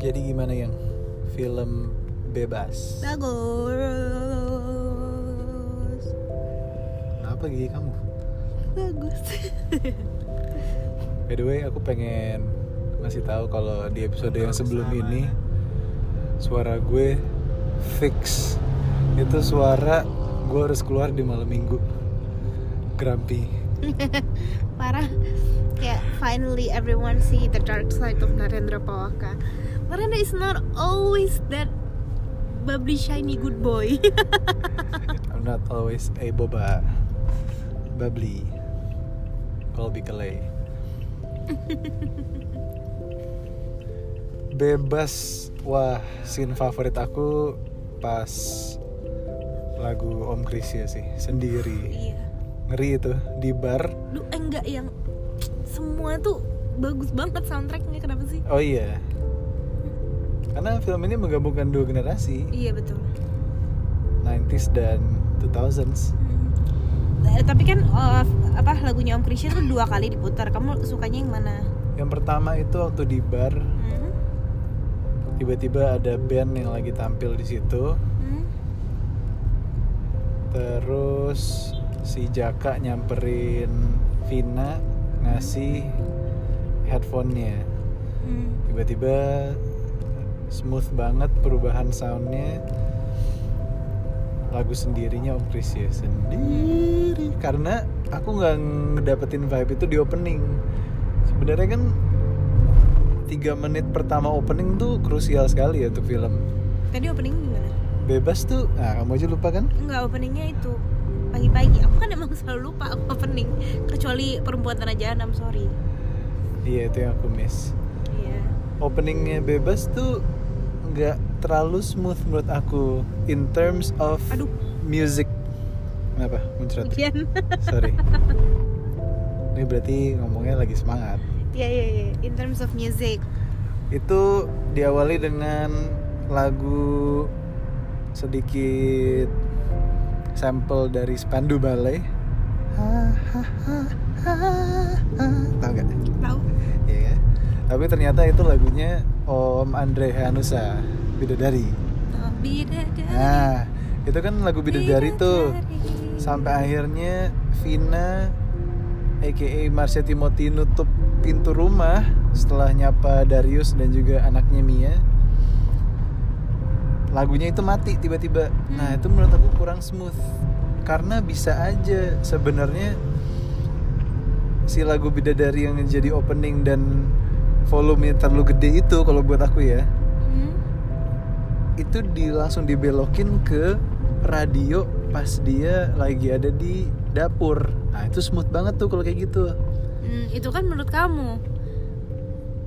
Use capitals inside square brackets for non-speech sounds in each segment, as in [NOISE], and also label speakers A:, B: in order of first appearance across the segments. A: Jadi gimana yang film bebas?
B: bagus
A: Kenapa gigi kamu?
B: bagus
A: By the way, aku pengen ngasih tahu kalau di episode yang sebelum ini suara gue fix. Itu suara gue harus keluar di malam minggu. Grumpy.
B: [LAUGHS] parah kayak finally everyone see the dark side of Narendra Pawaka Narendra is not always that bubbly shiny good boy [LAUGHS]
A: I'm not always a boba. Bubbly. Colby
B: [LAUGHS]
A: Kelly. Bebas. Wah, scene favorit aku pas lagu Om Krisya sih, sendiri.
B: iya
A: Ngeri itu di bar.
B: lu eh, enggak yang semua tuh bagus banget soundtracknya kenapa sih
A: Oh iya. Karena film ini menggabungkan dua generasi,
B: iya betul
A: 90s dan 2000s.
B: Eh, tapi kan eh, apa lagunya Om Krisya tuh dua kali diputar kamu sukanya yang mana
A: Yang pertama itu waktu di bar,
B: Hmm?
A: tiba-tiba ada band yang lagi tampil di situ.
B: Hmm?
A: Terus si Jaka nyamperin Vina ngasih headphone-nya.
B: Hmm.
A: Tiba-tiba smooth banget perubahan soundnya. Lagu sendirinya Om Krisya sendiri. Karena aku nggak ngedapetin vibe itu di opening. Sebenarnya kan tiga menit pertama opening tuh krusial sekali ya untuk film.
B: tadi opening gimana
A: Bebas tuh, nah kamu aja lupa kan?
B: Enggak, openingnya itu pagi-pagi. Aku kan emang selalu lupa aku opening kecuali perempuan tanah jahanam, sorry.
A: Iya itu yang aku miss.
B: Iya.
A: openingnya bebas tuh nggak terlalu smooth menurut aku in terms of
B: Aduh.
A: music kenapa muncrat
B: Ujian.
A: sorry ini berarti ngomongnya lagi semangat
B: [LAUGHS] Iya, iya, iya. In terms of music.
A: itu diawali dengan lagu sedikit sampel dari Spandu Ballet Ha, ha, ha, ha, ha. Tahu nggak?
B: Tahu?
A: Iya. Tapi ternyata itu lagunya Om Andre Hanusa Bidadari.
B: Oh, Bidadari.
A: Nah, itu kan lagu Bidadari tuh. Sampai akhirnya Vina aka Marsha Timothy nutup pintu rumah setelah nyapa Darius dan juga anaknya Mia. Lagunya itu mati tiba-tiba. Nah, itu menurut aku kurang smooth. Karena bisa aja sebenarnya si lagu Bidadari yang jadi opening dan volumenya terlalu gede itu kalau buat aku ya
B: Hmm?
A: itu di langsung dibelokin ke radio pas dia lagi ada di dapur. Nah, itu smooth banget tuh kalau kayak gitu.
B: Hmm, itu kan menurut kamu.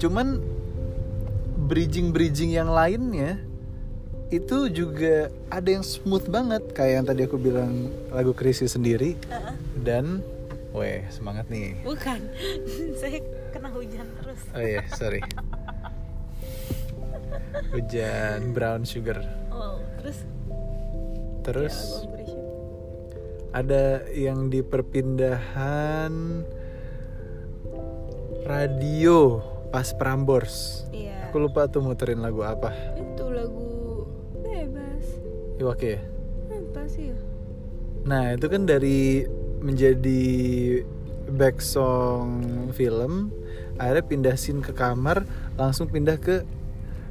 A: Cuman bridging-bridging yang lainnya itu juga ada yang smooth banget kayak yang tadi aku bilang lagu Krisi sendiri dan weh semangat nih.
B: Bukan. [LAUGHS] Saya kena hujan terus.
A: Oh iya, sorry. Hujan brown sugar.
B: Oh, terus Ya,
A: Terus ada yang di perpindahan radio pas Prambors.
B: Iya.
A: Aku lupa tuh muterin lagu apa.
B: Itu lagu bebas.
A: Iwake ya.
B: Apa sih? ya?
A: Nah, itu kan dari menjadi back song film akhirnya pindah scene ke kamar langsung pindah ke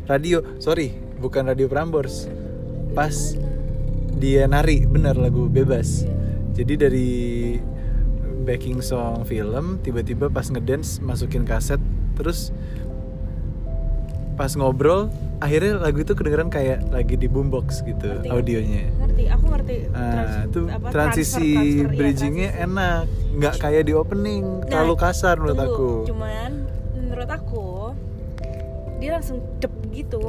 A: radio sorry bukan radio Prambors pas dia nari bener lagu bebas jadi dari backing song film tiba-tiba pas ngedance masukin kaset terus pas ngobrol akhirnya lagu itu kedengeran kayak lagi di boombox gitu
B: Ngerti.
A: audionya
B: Ngerti, aku ngerti.
A: Ah,
B: Trans-
A: itu
B: apa,
A: transisi
B: transfer, transfer, iya,
A: bridgingnya
B: transisi. Nah,
A: enak nggak kayak di opening terlalu kasar menurut
B: Tunggu,
A: aku
B: Cuman menurut aku dia langsung dep gitu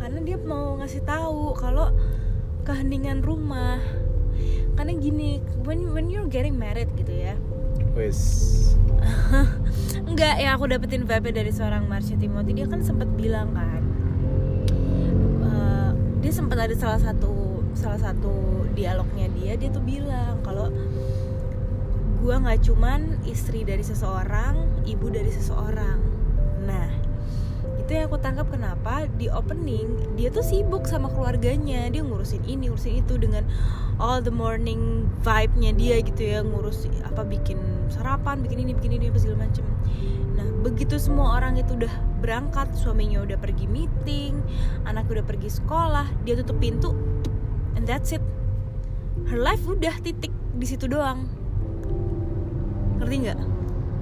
B: karena dia mau ngasih tahu kalau keheningan rumah karena gini when when you're getting married gitu ya
A: wes
B: enggak ya aku dapetin vibe dari seorang Marsha Timothy dia kan sempat bilang kan eh, dia sempat ada salah satu salah satu dialognya dia dia tuh bilang kalau gua nggak cuman istri dari seseorang ibu dari seseorang nah itu yang aku tangkap kenapa di opening dia tuh sibuk sama keluarganya dia ngurusin ini ngurusin itu dengan all the morning vibe-nya dia gitu ya ngurus apa bikin sarapan bikin ini bikin ini apa segala macem nah begitu semua orang itu udah berangkat suaminya udah pergi meeting anak udah pergi sekolah dia tutup pintu and that's it her life udah titik di situ doang ngerti nggak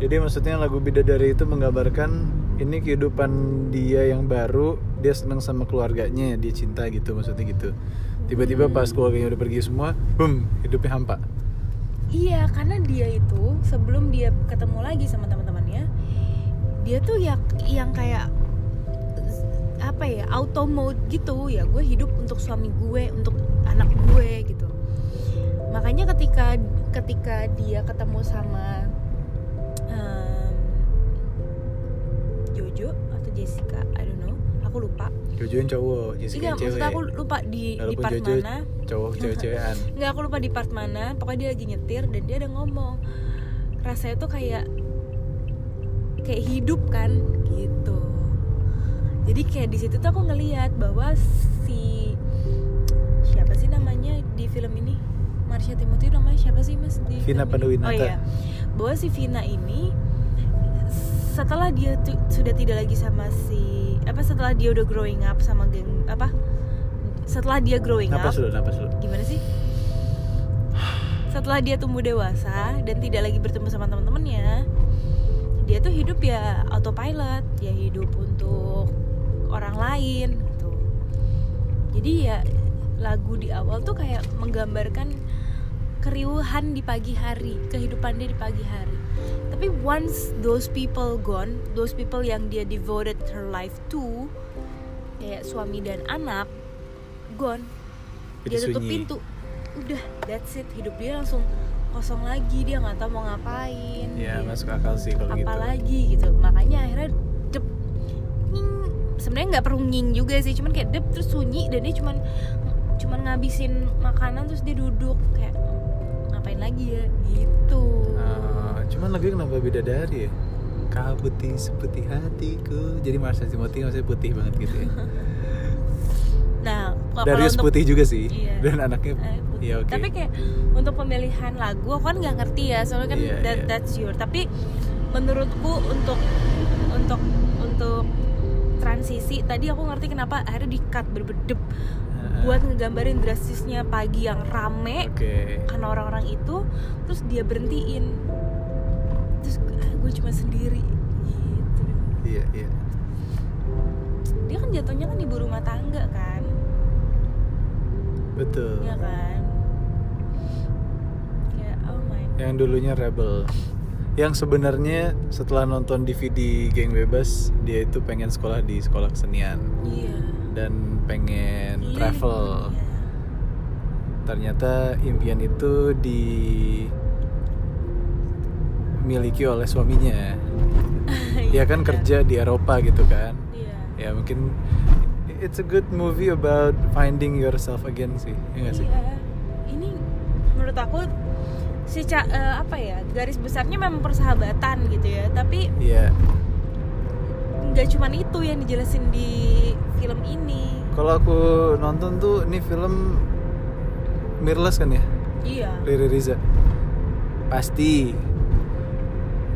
A: Jadi maksudnya lagu Bidadari itu menggambarkan ini kehidupan dia yang baru, dia senang sama keluarganya, dia cinta gitu maksudnya gitu. Tiba-tiba pas
B: Hmm.
A: keluarganya udah pergi semua, boom, hidupnya hampa.
B: Iya, karena dia itu sebelum dia ketemu lagi sama teman-temannya, dia tuh ya yang kayak z- apa ya auto mode gitu ya gue hidup untuk suami gue untuk anak gue gitu makanya ketika ketika dia ketemu sama em, Jojo atau Jessica I don't know aku lupa
A: Jojo yang cowok, Jessica
B: Iya
A: yang cewek.
B: maksud aku lupa di di
A: Walaupun
B: part
A: Jojo
B: mana
A: cowok cewek-cewekan.
B: nggak aku lupa di part mana pokoknya dia lagi nyetir dan dia ada ngomong rasanya tuh kayak kayak hidup kan gitu jadi kayak di situ tuh aku ngelihat bahwa si siapa sih namanya di film ini Marsha Timothy namanya siapa sih mas di
A: Vina
B: film ini?
A: Panduwinata.
B: oh iya bahwa si Vina ini setelah dia tu- sudah tidak lagi sama si apa setelah dia udah growing up sama geng apa setelah dia growing up
A: Napas dulu, napas dulu.
B: gimana sih setelah dia tumbuh dewasa dan tidak lagi bertemu sama teman-temannya dia tuh hidup ya autopilot ya hidup untuk orang lain gitu jadi ya lagu di awal tuh kayak menggambarkan keriuhan di pagi hari kehidupan dia di pagi hari tapi once those people gone those people yang dia devoted her life to kayak suami dan anak gone
A: Itu
B: dia tutup
A: sunyi.
B: pintu udah that's it hidup dia langsung kosong lagi dia nggak tahu mau ngapain
A: Ya,
B: dia
A: masuk akal sih kalau gitu.
B: apalagi gitu makanya akhirnya dep nying sebenarnya nggak perlu nying juga sih cuman kayak dep terus sunyi dan dia cuman cuman ngabisin makanan terus dia duduk kayak ngapain lagi ya gitu
A: Ah, cuman lagunya kenapa Bidadari ya? Kau putih seperti hatiku. Jadi Marsha Timothy maksudnya putih banget gitu
B: [LAUGHS]
A: ya.
B: nah kalau
A: Darius
B: untuk-
A: putih juga sih.
B: Iya.
A: Dan anaknya
B: Eh, putih.
A: Iya, oke.
B: Tapi kayak untuk pemilihan lagu aku kan nggak ngerti ya, soalnya kan
A: Iya,
B: that-
A: iya.
B: that's your. Tapi menurutku untuk untuk untuk transisi tadi aku ngerti kenapa akhirnya di cut berbedep
A: Ah,
B: buat ngegambarin drastisnya pagi yang rame
A: Oke.
B: karena orang-orang itu terus dia berhentiin terus gue cuma sendiri gitu
A: Iya, iya.
B: dia kan jatuhnya kan ibu rumah tangga kan
A: Betul.
B: ya kan kayak oh my
A: yang dulunya rebel yang sebenarnya setelah nonton DVD Geng Bebas dia itu pengen sekolah di sekolah kesenian
B: Iya.
A: dan pengen
B: Iya,
A: travel
B: [LAUGHS] iya.
A: ternyata impian itu dimiliki oleh suaminya dia kan
B: Iya.
A: kerja di Eropa gitu kan
B: Iya.
A: ya mungkin it's a good movie about finding yourself again sih ya nggak sih
B: Iya. Ini menurut aku si ca- eh, apa ya garis besarnya memang persahabatan gitu ya. Tapi
A: Iya
B: nggak cuman itu yang dijelasin di film ini.
A: kalau aku nonton tuh ini film Mirles kan ya
B: Iya.
A: Riri Riza pasti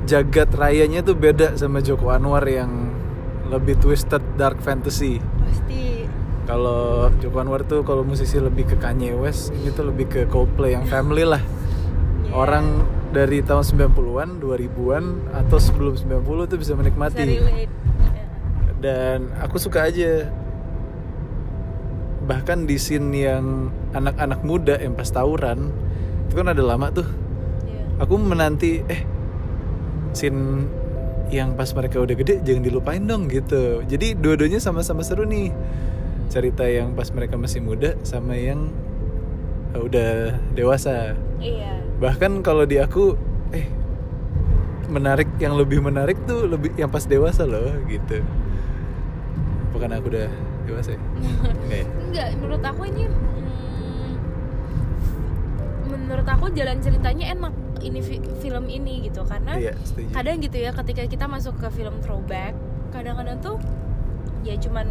A: jagat rayanya tuh beda sama Joko Anwar yang lebih twisted dark fantasy
B: Pasti.
A: kalau Joko Anwar tuh kalau musisi lebih ke Kanye West ini tuh lebih ke Coldplay yang family lah
B: Iya.
A: orang dari tahun 90-an 2000-an atau sebelum 90 tuh bisa
B: Bisa
A: menikmati
B: relate. Iya.
A: dan aku suka aja bahkan di scene yang anak-anak muda yang pas tawuran itu kan ada lama tuh
B: Iya.
A: aku menanti eh scene yang pas mereka udah gede jangan dilupain dong gitu jadi dua-duanya sama-sama seru nih cerita yang pas mereka masih muda sama yang eh, udah dewasa
B: Iya.
A: bahkan kalau di aku eh menarik yang lebih menarik tuh lebih yang pas dewasa loh gitu bukan aku udah dewasa ya? Enggak ya?
B: Enggak, menurut aku ini mm, menurut aku jalan ceritanya enak ini fi- film ini gitu karena
A: iya setuju
B: kadang gitu ya ketika kita masuk ke film throwback kadang-kadang tuh ya cuman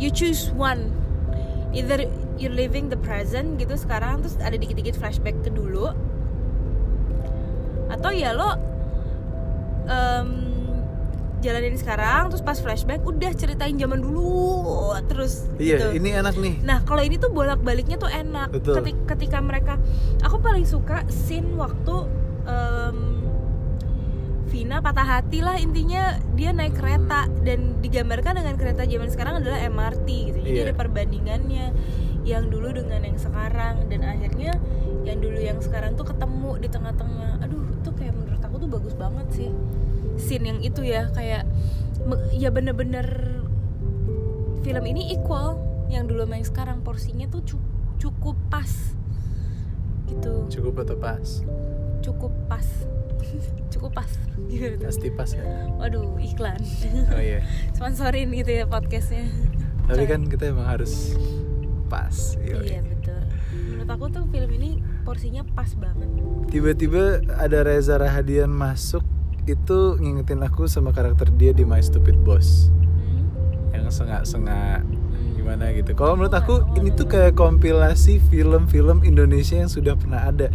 B: you choose one either you're living the present gitu sekarang terus ada dikit-dikit flashback ke dulu atau ya lo em, jalanin sekarang terus pas flashback udah ceritain zaman dulu terus
A: Iya,
B: gitu.
A: ini enak nih.
B: Nah, kalau ini tuh bolak-baliknya tuh enak.
A: Betul.
B: Ketik- Ketika, mereka aku paling suka scene waktu em, Vina patah hati lah intinya dia naik kereta
A: Hmm.
B: dan digambarkan dengan kereta zaman sekarang adalah MRT gitu. Jadi
A: Iya.
B: ada perbandingannya yang dulu dengan yang sekarang dan akhirnya yang dulu yang sekarang tuh ketemu di tengah-tengah. Aduh, itu kayak menurut aku tuh bagus banget sih. Scene yang itu ya kayak me- ya bener-bener film ini equal yang dulu main sekarang porsinya tuh cu- cukup pas gitu
A: Cukup atau pas?
B: cukup pas [LAUGHS] cukup pas [LAUGHS] Gimana tuh?
A: Pasti pas
B: [LAUGHS]
A: ya.
B: waduh iklan
A: Oh iya.
B: sponsorin gitu ya podcastnya
A: Tapi kan kita emang harus pas.
B: iya
A: Yoi.
B: betul menurut aku tuh film ini porsinya pas banget
A: Tiba-tiba ada Reza Rahadian masuk itu ngingetin aku sama karakter dia di My Stupid Boss
B: Hmm,
A: yang sengak-sengak
B: hmm.
A: gimana gitu. Kalau menurut aku ini tuh kayak kompilasi film-film Indonesia yang sudah pernah ada.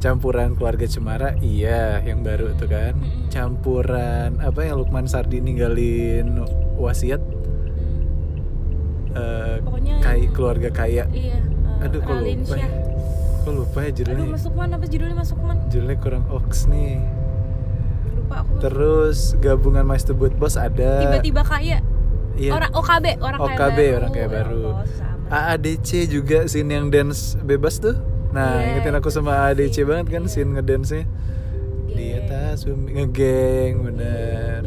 A: Campuran keluarga Cemara, iya, yang baru tuh kan. Campuran apa yang Lukman Sardi ninggalin wasiat
B: Hmm,
A: eh,
B: pokoknya
A: kai keluarga kaya.
B: iya eh,
A: Aduh, kok
B: Raline
A: lupa. ya?
B: Shah.
A: Kok lupa ya
B: aduh
A: judulnya?
B: masuk man apa judulnya masuk man
A: Judulnya kurang oks nih.
B: lupa aku
A: Terus gabungan My Stupid Boss ada.
B: tiba-tiba kaya
A: Iya.
B: orang OKB orang kaya
A: OKB,
B: baru
A: orang kaya
B: Ya
A: baru. Ah,
B: Allah, susah amat.
A: AADC juga scene yang dance bebas tuh. Nah,
B: Iya,
A: ingetin aku
B: itu
A: sama AADC
B: scene.
A: banget kan
B: Iya.
A: scene ngedance-nya. Di
B: Geng.
A: atas bumi ngegeng bener.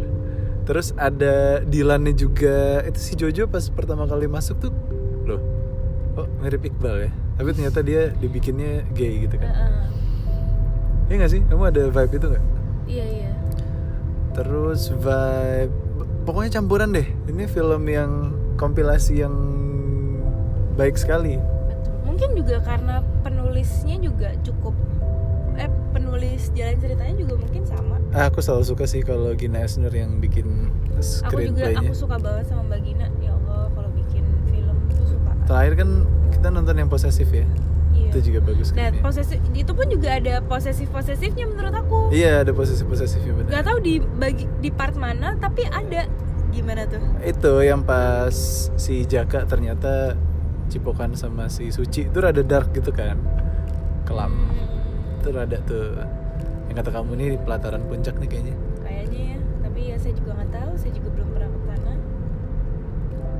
A: Terus ada Dilannya juga. Itu si Jojo pas pertama kali masuk tuh loh. Oh, mirip Iqbal ya. Tapi ternyata dia dibikinnya gay gitu kan.
B: Heeh.
A: Iya gak sih? Kamu ada vibe itu gak?
B: Iya iya.
A: Terus vibe pokoknya campuran deh. Ini film yang kompilasi yang baik sekali.
B: Betul. Mungkin juga karena penulisnya juga cukup eh penulis jalan ceritanya juga mungkin sama.
A: Ah, Aku selalu suka sih kalau Gina Esner yang bikin
B: Aku juga
A: screenplay-nya.
B: aku suka banget sama Mbak Gina. Ya Allah, kalau bikin film itu suka.
A: Terakhir kan kita nonton yang posesif ya.
B: Iya.
A: Itu juga bagus
B: Dan
A: kan. ya.
B: posesif itu pun juga ada posesif-posesifnya menurut aku.
A: Iya, ada posesif-posesifnya benar.
B: Gak tahu di bagi di part mana tapi ada. Gimana tuh?
A: Itu yang pas si Jaka ternyata cipokan sama si Suci itu rada dark gitu kan. Kelam.
B: Hmm,
A: Itu rada tuh yang kata kamu nih di pelataran puncak nih kayaknya.
B: kayaknya ya. Tapi ya saya juga nggak tahu, saya juga belum pernah ke sana.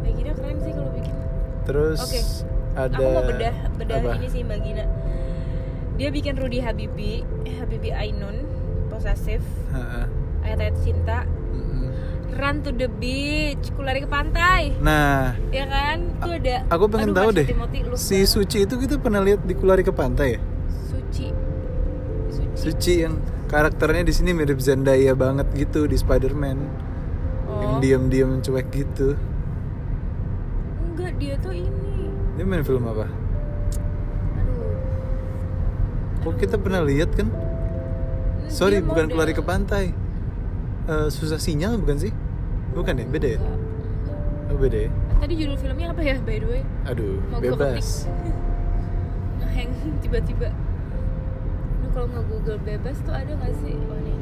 B: Mbak Gina keren sih kalau bikin
A: Terus
B: Oke.
A: ada
B: aku mau bedah bedah
A: apa?
B: ini sih Mbak Gina dia bikin Rudy Habibi eh, Habibi Ainun posesif
A: Heeh.
B: ayat-ayat cinta
A: Mm-mm.
B: run to the beach ku lari ke pantai
A: Nah,
B: ya kan itu ada
A: aku pengen
B: Aduh,
A: tahu
B: Mas
A: deh.
B: Timothy, lu
A: Si
B: banget.
A: Suci itu kita pernah lihat di Kulari ke pantai ya?
B: suci suci
A: Suci yang karakternya di sini mirip Zendaya banget gitu di Spider-Man. Yang
B: oh
A: diam-diam cuek gitu.
B: enggak dia tuh ini
A: Dia main film apa?
B: aduh
A: Kok kita pernah lihat kan?
B: Hmm,
A: Sorry,
B: dia
A: bukan
B: model.
A: Kulari ke pantai. Eh, susah sinyal bukan sih? Bukan ya? Beda ya?
B: Enggak, enggak.
A: Oh, beda ya?
B: tadi judul filmnya apa ya by the way
A: Aduh,
B: Mau gua
A: bebas.
B: ngeheng [LAUGHS] tiba-tiba lu kalau nggak Google bebas tuh ada nggak sih oh ini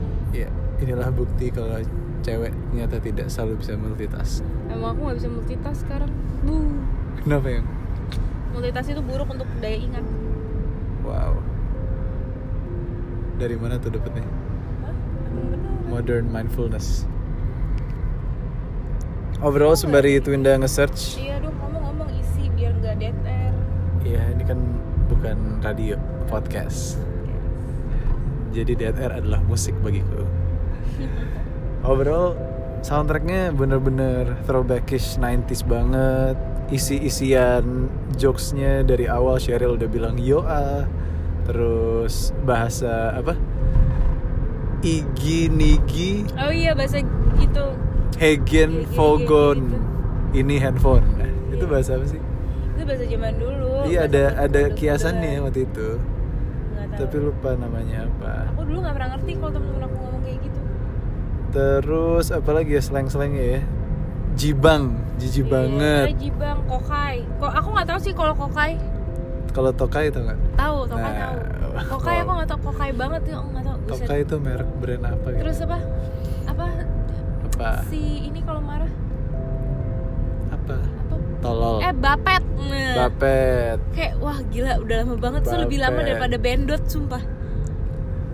A: Ya, inilah bukti kalau cewek ternyata tidak selalu bisa multitask.
B: emang aku nggak bisa multitask sekarang Buh.
A: Kenapa yang?
B: Multitask itu buruk untuk daya ingat.
A: Wow. Dari mana tuh dapetnya?
B: Hah? Emang bener.
A: Modern mindfulness. Overall sembari Twinda nge-search,
B: Iya dong, kamu ngomong isi biar nggak dead air.
A: ya ini kan bukan radio, podcast. Jadi DNR adalah musik bagiku. Overall soundtracknya bener-bener throwbackish 90s banget. Isi-isian jokesnya dari awal Cheryl udah bilang yo ah. Terus bahasa apa? Igi nigi
B: Oh iya bahasa itu
A: Hegen
B: Iya, iya,
A: Vogon
B: iya,
A: ini handphone Nah, itu
B: Iya.
A: bahasa apa sih?
B: itu bahasa zaman dulu.
A: iya
B: bahasa
A: ada
B: zaman
A: ada
B: dulu
A: kiasannya
B: beneran.
A: waktu itu
B: Nggak tahu.
A: tapi lupa namanya apa
B: Aku dulu nggak pernah ngerti kalau temen-temen aku ngomong kayak gitu.
A: terus apalagi ya slang-slangnya ya Jibang, jijik banget.
B: Iya, Jibang, Kokai. Kok aku nggak tahu sih kalau Kokai.
A: Kalau Tokai itu nggak?
B: Tahu, Tokai
A: Nah,
B: tahu. Kokai
A: kalau-
B: aku nggak tahu Kokai banget tuh, aku nggak tahu. Buset.
A: Tokai itu merek brand apa gitu?
B: Terus apa? Apa
A: apa?
B: si ini kalau marah
A: Apa?
B: apa?
A: Tolol.
B: Eh, Bapet. Nah.
A: Bapet.
B: Kayak wah gila udah lama banget tuh lebih lama
A: Bapet.
B: daripada Bendot sumpah.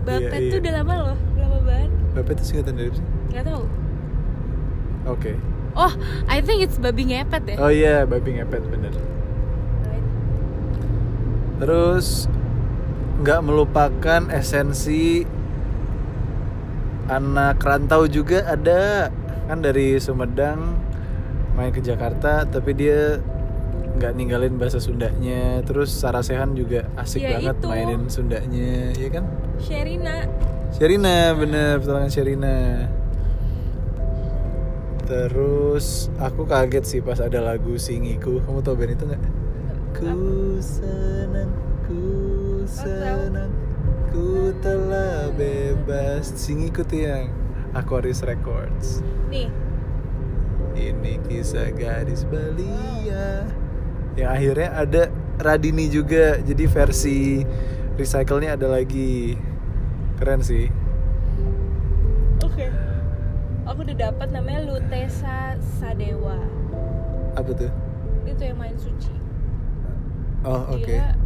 B: Bapet
A: Iya,
B: tuh
A: iya.
B: udah lama loh, lama banget.
A: Bapet itu singkatan dari apa sih?
B: Nggak tahu.
A: Oke.
B: Oh, I think it's babi ngepet ya.
A: Oh iya, babi ngepet bener. Terus nggak melupakan esensi anak rantau juga ada kan dari Sumedang main ke Jakarta tapi dia nggak ninggalin bahasa Sundanya terus Sarasehan juga asik
B: Ya,
A: banget
B: itu.
A: mainin Sundanya ya kan
B: Sherina.
A: Sherina bener pertolongan Sherina terus aku kaget sih pas ada lagu singiku kamu tau band itu nggak ku senang ku senang ku telah bebas singiku tiang Aquarius Records
B: Nih,
A: ini kisah gadis belia yang akhirnya ada Radini juga jadi versi recycle-nya ada lagi keren sih
B: oke. Aku udah dapat namanya Lutesa Sadewa.
A: apa tuh
B: Itu yang main Suci.
A: oh oke
B: Dia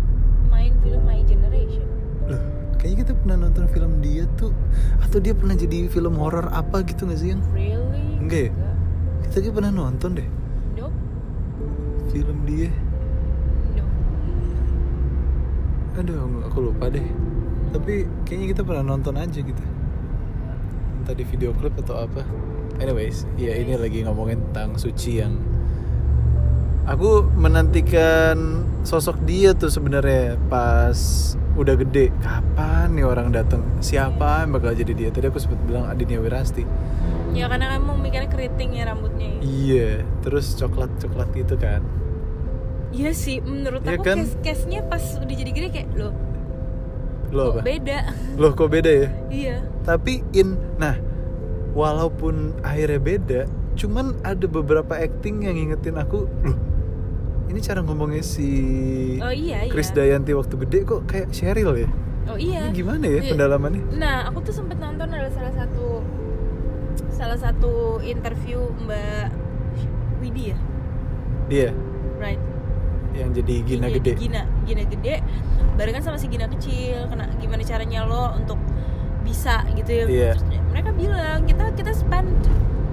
B: main film My Generation.
A: Loh, kayaknya kita pernah nonton film dia tuh atau dia pernah jadi film horor apa gitu nggak sih yang
B: Really?
A: Enggak ya? kita kayaknya pernah nonton deh
B: Nope.
A: film dia
B: Nope.
A: aduh nggak- aku lupa deh tapi kayaknya kita pernah nonton aja gitu entah di video klip atau apa anyways ya ini lagi ngomongin tentang suci yang aku menantikan sosok dia tuh sebenarnya pas udah gede kapan nih orang datang siapa yang bakal jadi dia tadi aku sempat bilang Adinia Wirasti
B: Ya karena kamu mikirnya keriting ya rambutnya. ya.
A: iya terus coklat coklat gitu kan
B: Iya sih, menurut
A: Iya
B: aku
A: kan?
B: case case-nya pas udah jadi gede kayak loh,
A: lo
B: kok
A: apa
B: beda. [LAUGHS]
A: lo kok beda ya
B: iya.
A: tapi in nah walaupun akhirnya beda cuman ada beberapa acting yang ngingetin aku loh ini cara ngomongnya si
B: Oh iya iya.
A: Chris Dayanti waktu gede kok kayak Cheryl ya
B: Oh iya.
A: ini gimana ya
B: Iya.
A: pendalamannya
B: Nah, aku tuh sempet nonton ada salah satu salah satu interview Mbak Widi ya,
A: dia
B: right?
A: yang jadi Gina gede
B: Iya, Gina, Gina gede. Barengan sama si Gina kecil. Kena gimana caranya lo untuk bisa gitu ya?
A: Iya.
B: Terus Mereka bilang kita kita spend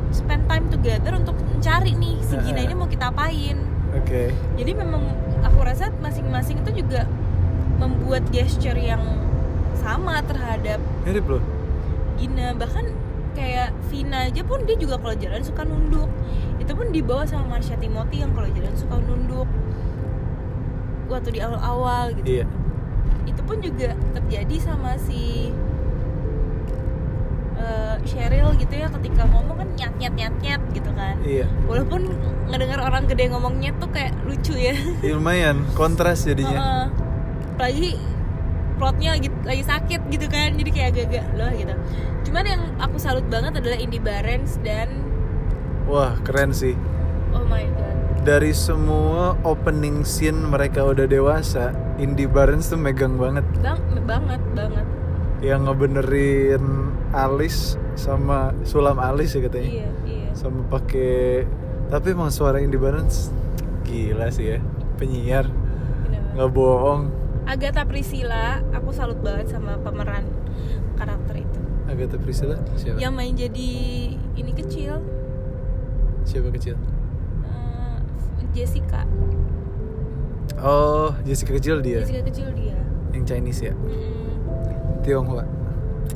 B: spend time together untuk mencari nih si Gina
A: Heeh.
B: ini mau kita apain.
A: oke
B: jadi memang aku rasa masing-masing itu juga membuat gesture yang sama terhadap
A: mirip loh
B: Gina bahkan kayak Vina aja pun dia juga kalau jalan suka nunduk itu pun dibawa sama Marsha Timothy yang kalau jalan suka nunduk waktu di awal-awal gitu
A: iya
B: itu pun juga terjadi sama si eh, Cheryl gitu ya ketika ngomong kan nyat nyat nyat nyat gitu kan
A: iya
B: walaupun ngedengar orang gede ngomongnya tuh kayak lucu ya
A: Ya, lumayan kontras jadinya
B: Heeh. apalagi plotnya lagi lagi sakit gitu kan jadi kayak agak-agak loh gitu cuman yang aku salut banget adalah Indy Barens dan
A: wah keren sih
B: oh my god
A: dari semua opening scene mereka udah dewasa Indy Barnes tuh megang banget
B: bang banget banget
A: yang ngebenerin alis sama sulam alis ya katanya
B: iya iya
A: sama pakai tapi emang suara Indi Barnes gila sih ya penyiar
B: bener banget.
A: nggak bohong
B: Agatha Priscilla aku salut banget sama pemeran karakter itu
A: Agatha Priscilla siapa
B: yang main jadi ini kecil
A: siapa kecil
B: eh, Jessica
A: oh Jessica kecil dia
B: Jessica kecil dia
A: yang Chinese ya
B: Mm.
A: Tionghoa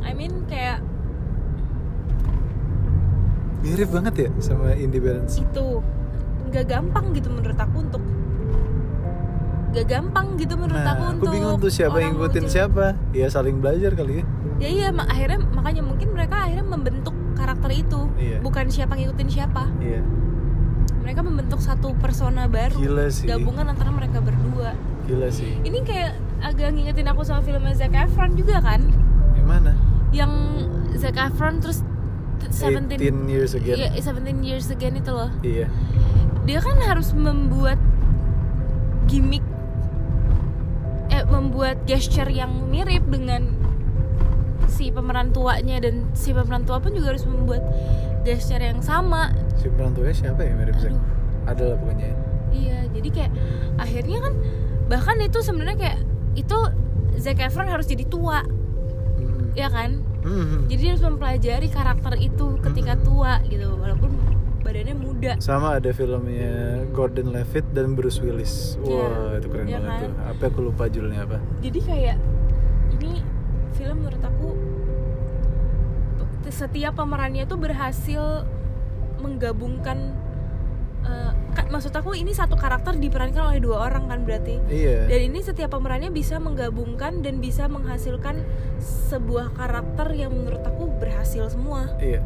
B: I mean kayak
A: mirip banget ya sama Indi Barnes
B: itu nggak gampang gitu menurut aku untuk nggak gampang gitu menurut aku
A: nah aku
B: untuk
A: bingung tuh siapa
B: orang
A: yang ngikutin
B: muncul.
A: siapa ya saling belajar kali ya
B: ya iya ma- akhirnya makanya mungkin mereka akhirnya membentuk karakter itu
A: Iya.
B: bukan siapa ngikutin siapa
A: iya
B: mereka membentuk satu persona baru
A: gila sih
B: gabungan antara mereka berdua
A: gila sih
B: ini kayak agak ngingetin aku sama filmnya Zac Efron juga kan
A: yang mana
B: yang Zac Efron terus 17
A: 18 years again.
B: Iya, 17 years again itu loh.
A: Iya.
B: Dia kan harus membuat gimmick eh membuat gesture yang mirip dengan si pemeran tuanya dan si pemeran tua pun juga harus membuat gesture yang sama.
A: Si pemeran tuanya siapa ya mirip Zac?
B: Aduh.
A: Ada lah pokoknya. ya.
B: Iya, jadi kayak akhirnya kan bahkan itu sebenarnya kayak itu Zac Efron harus jadi tua,
A: Mm-mm.
B: ya kan?
A: Mm-mm.
B: Jadi dia harus mempelajari karakter itu ketika
A: Mm-mm.
B: tua gitu, walaupun badannya muda.
A: Sama ada filmnya Gordon Levitt dan Bruce Willis. Wah,
B: Iya.
A: itu keren
B: Iya
A: banget
B: kan?
A: tuh. Apa aku lupa judulnya apa?
B: Jadi kayak ini film menurut aku setiap pemerannya tuh berhasil menggabungkan eh, kan, maksud aku ini satu karakter diperankan oleh dua orang kan berarti.
A: Iya.
B: Dan ini setiap pemerannya bisa menggabungkan dan bisa menghasilkan sebuah karakter yang menurut aku berhasil semua.
A: Iya.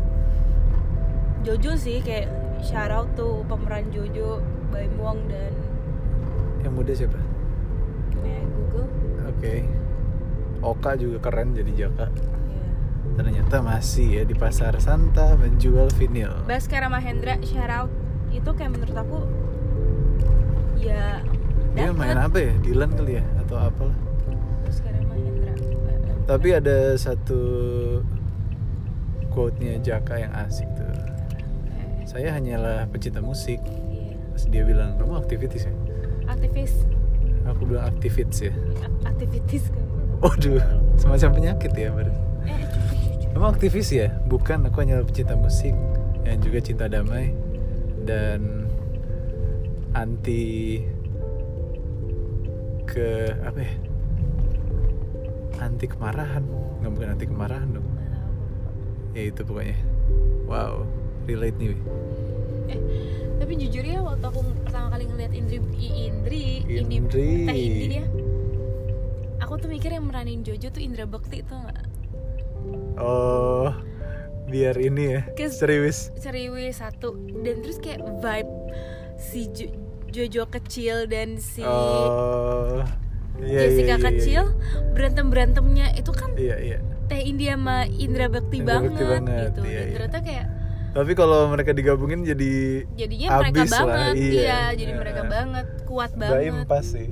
B: Jojo sih kayak shout out tuh pemeran Jojo, Baim Wong dan
A: Yang muda siapa?
B: eh, Google.
A: Oke. Oka juga keren jadi Jaka.
B: Ya.
A: Ternyata masih ya di pasar Santa menjual vinil.
B: Baskara Mahendra shout out itu kayak menurut aku ya
A: Dia
B: dapet.
A: main apa ya? Dylan kali ya atau apalah.
B: Baskara Mahendra. Eh, eh.
A: Tapi ada satu quote-nya Jaka yang asik tuh.
B: Eh,
A: Saya hanyalah pecinta musik.
B: iya.
A: Pas dia bilang, kamu aktivitis ya?
B: Aktivis
A: Aku bilang aktivitis ya.
B: aktivitis kamu.
A: Waduh, semacam penyakit ya baru.
B: Eh, cucu, cucu.
A: Kamu aktivis ya? Bukan, aku hanyalah pecinta musik yang juga cinta damai dan anti ke apa ya? Anti kemarahan, nggak bukan anti kemarahan dong.
B: Nggak tahu, aku lupa.
A: Ya itu pokoknya. Wow, relate nih. Wi.
B: Eh, tapi jujur ya waktu aku pertama kali ngeliat Indri I- Indri Indi-
A: Indri.
B: teh Indi dia aku tuh mikir yang meranin Jojo tuh Indra Bekti tuh nggak
A: Oh, biar ini ya.
B: Kes-
A: Serius.
B: seriwi satu dan terus kayak vibe si Jo- Jojo kecil dan si
A: Oh, iya, iya,
B: Jessica
A: iya,
B: kecil berantem berantemnya itu kan
A: Iya iya.
B: teh India sama Indra Bekti
A: Indra
B: banget,
A: Bekti banget,
B: gitu
A: iya,
B: dan
A: iya.
B: ternyata kayak
A: Tapi kalau mereka digabungin jadi
B: jadinya mereka
A: Abis lah,
B: banget
A: iya.
B: iya jadi
A: Eh.
B: mereka banget kuat
A: Baim
B: banget
A: pas sih.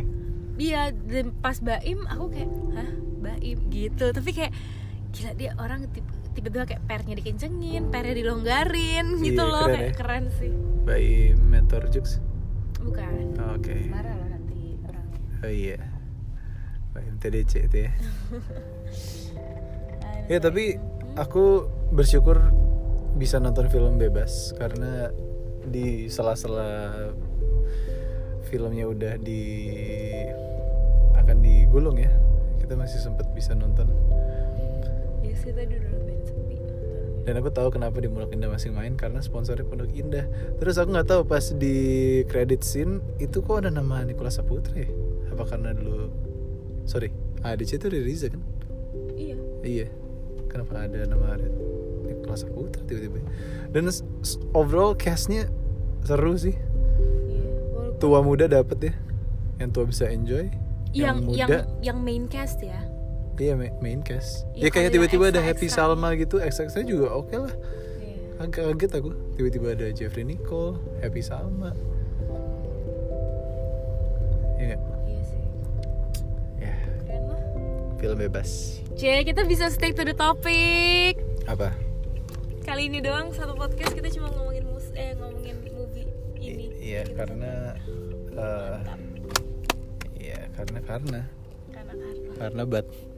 B: dia dan pas Baim aku kayak hah Baim gitu tapi kayak gila dia orang tipe- tiba-tiba kayak pernya dikencengin pernya dilonggarin
A: Iya,
B: gitu loh
A: keren
B: kayak
A: ya.
B: keren sih
A: Baim mentor Jux.
B: bukan
A: Oke.
B: marah loh nanti orangnya
A: Oh iya. Baim TDC itu ya. Ya tapi
B: Hmm,
A: aku bersyukur bisa nonton film bebas karena di sela-sela filmnya udah di akan digulung ya. Kita masih sempat bisa nonton.
B: ya sih tadi udah lumayan sepi
A: dan aku tahu kenapa di Pondok Indah masih main karena sponsornya Pondok Indah terus aku nggak tahu pas di credit scene itu kok ada nama Nicola Saputra ya apa karena dulu sorry ah, ADC itu dari Riza kan
B: iya
A: iya kenapa ada nama ada Nicola Saputra tiba-tiba dan s- s- overall castnya seru sih
B: iya Walaupun-
A: tua muda dapet ya yang tua bisa enjoy
B: yang
A: yang
B: yang
A: muda.
B: yang main cast ya
A: iya ma- main cast ya,
B: Iya, kalau
A: kayak
B: yang
A: tiba-tiba ada
B: extra-extra.
A: Happy Salma gitu ekstra juga oke lah
B: Iya.
A: agak kaget aku tiba-tiba ada Jeffrey Nicole Happy Salma ya nggak?
B: iya sih
A: ya
B: keren lah
A: film bebas
B: C kita bisa stick to the topic
A: apa
B: kali ini doang satu podcast kita cuma ngomongin mus eh ngomongin movie ini
A: iya
B: Gitu.
A: karena eh, iya karena karena
B: karena karena
A: karena bat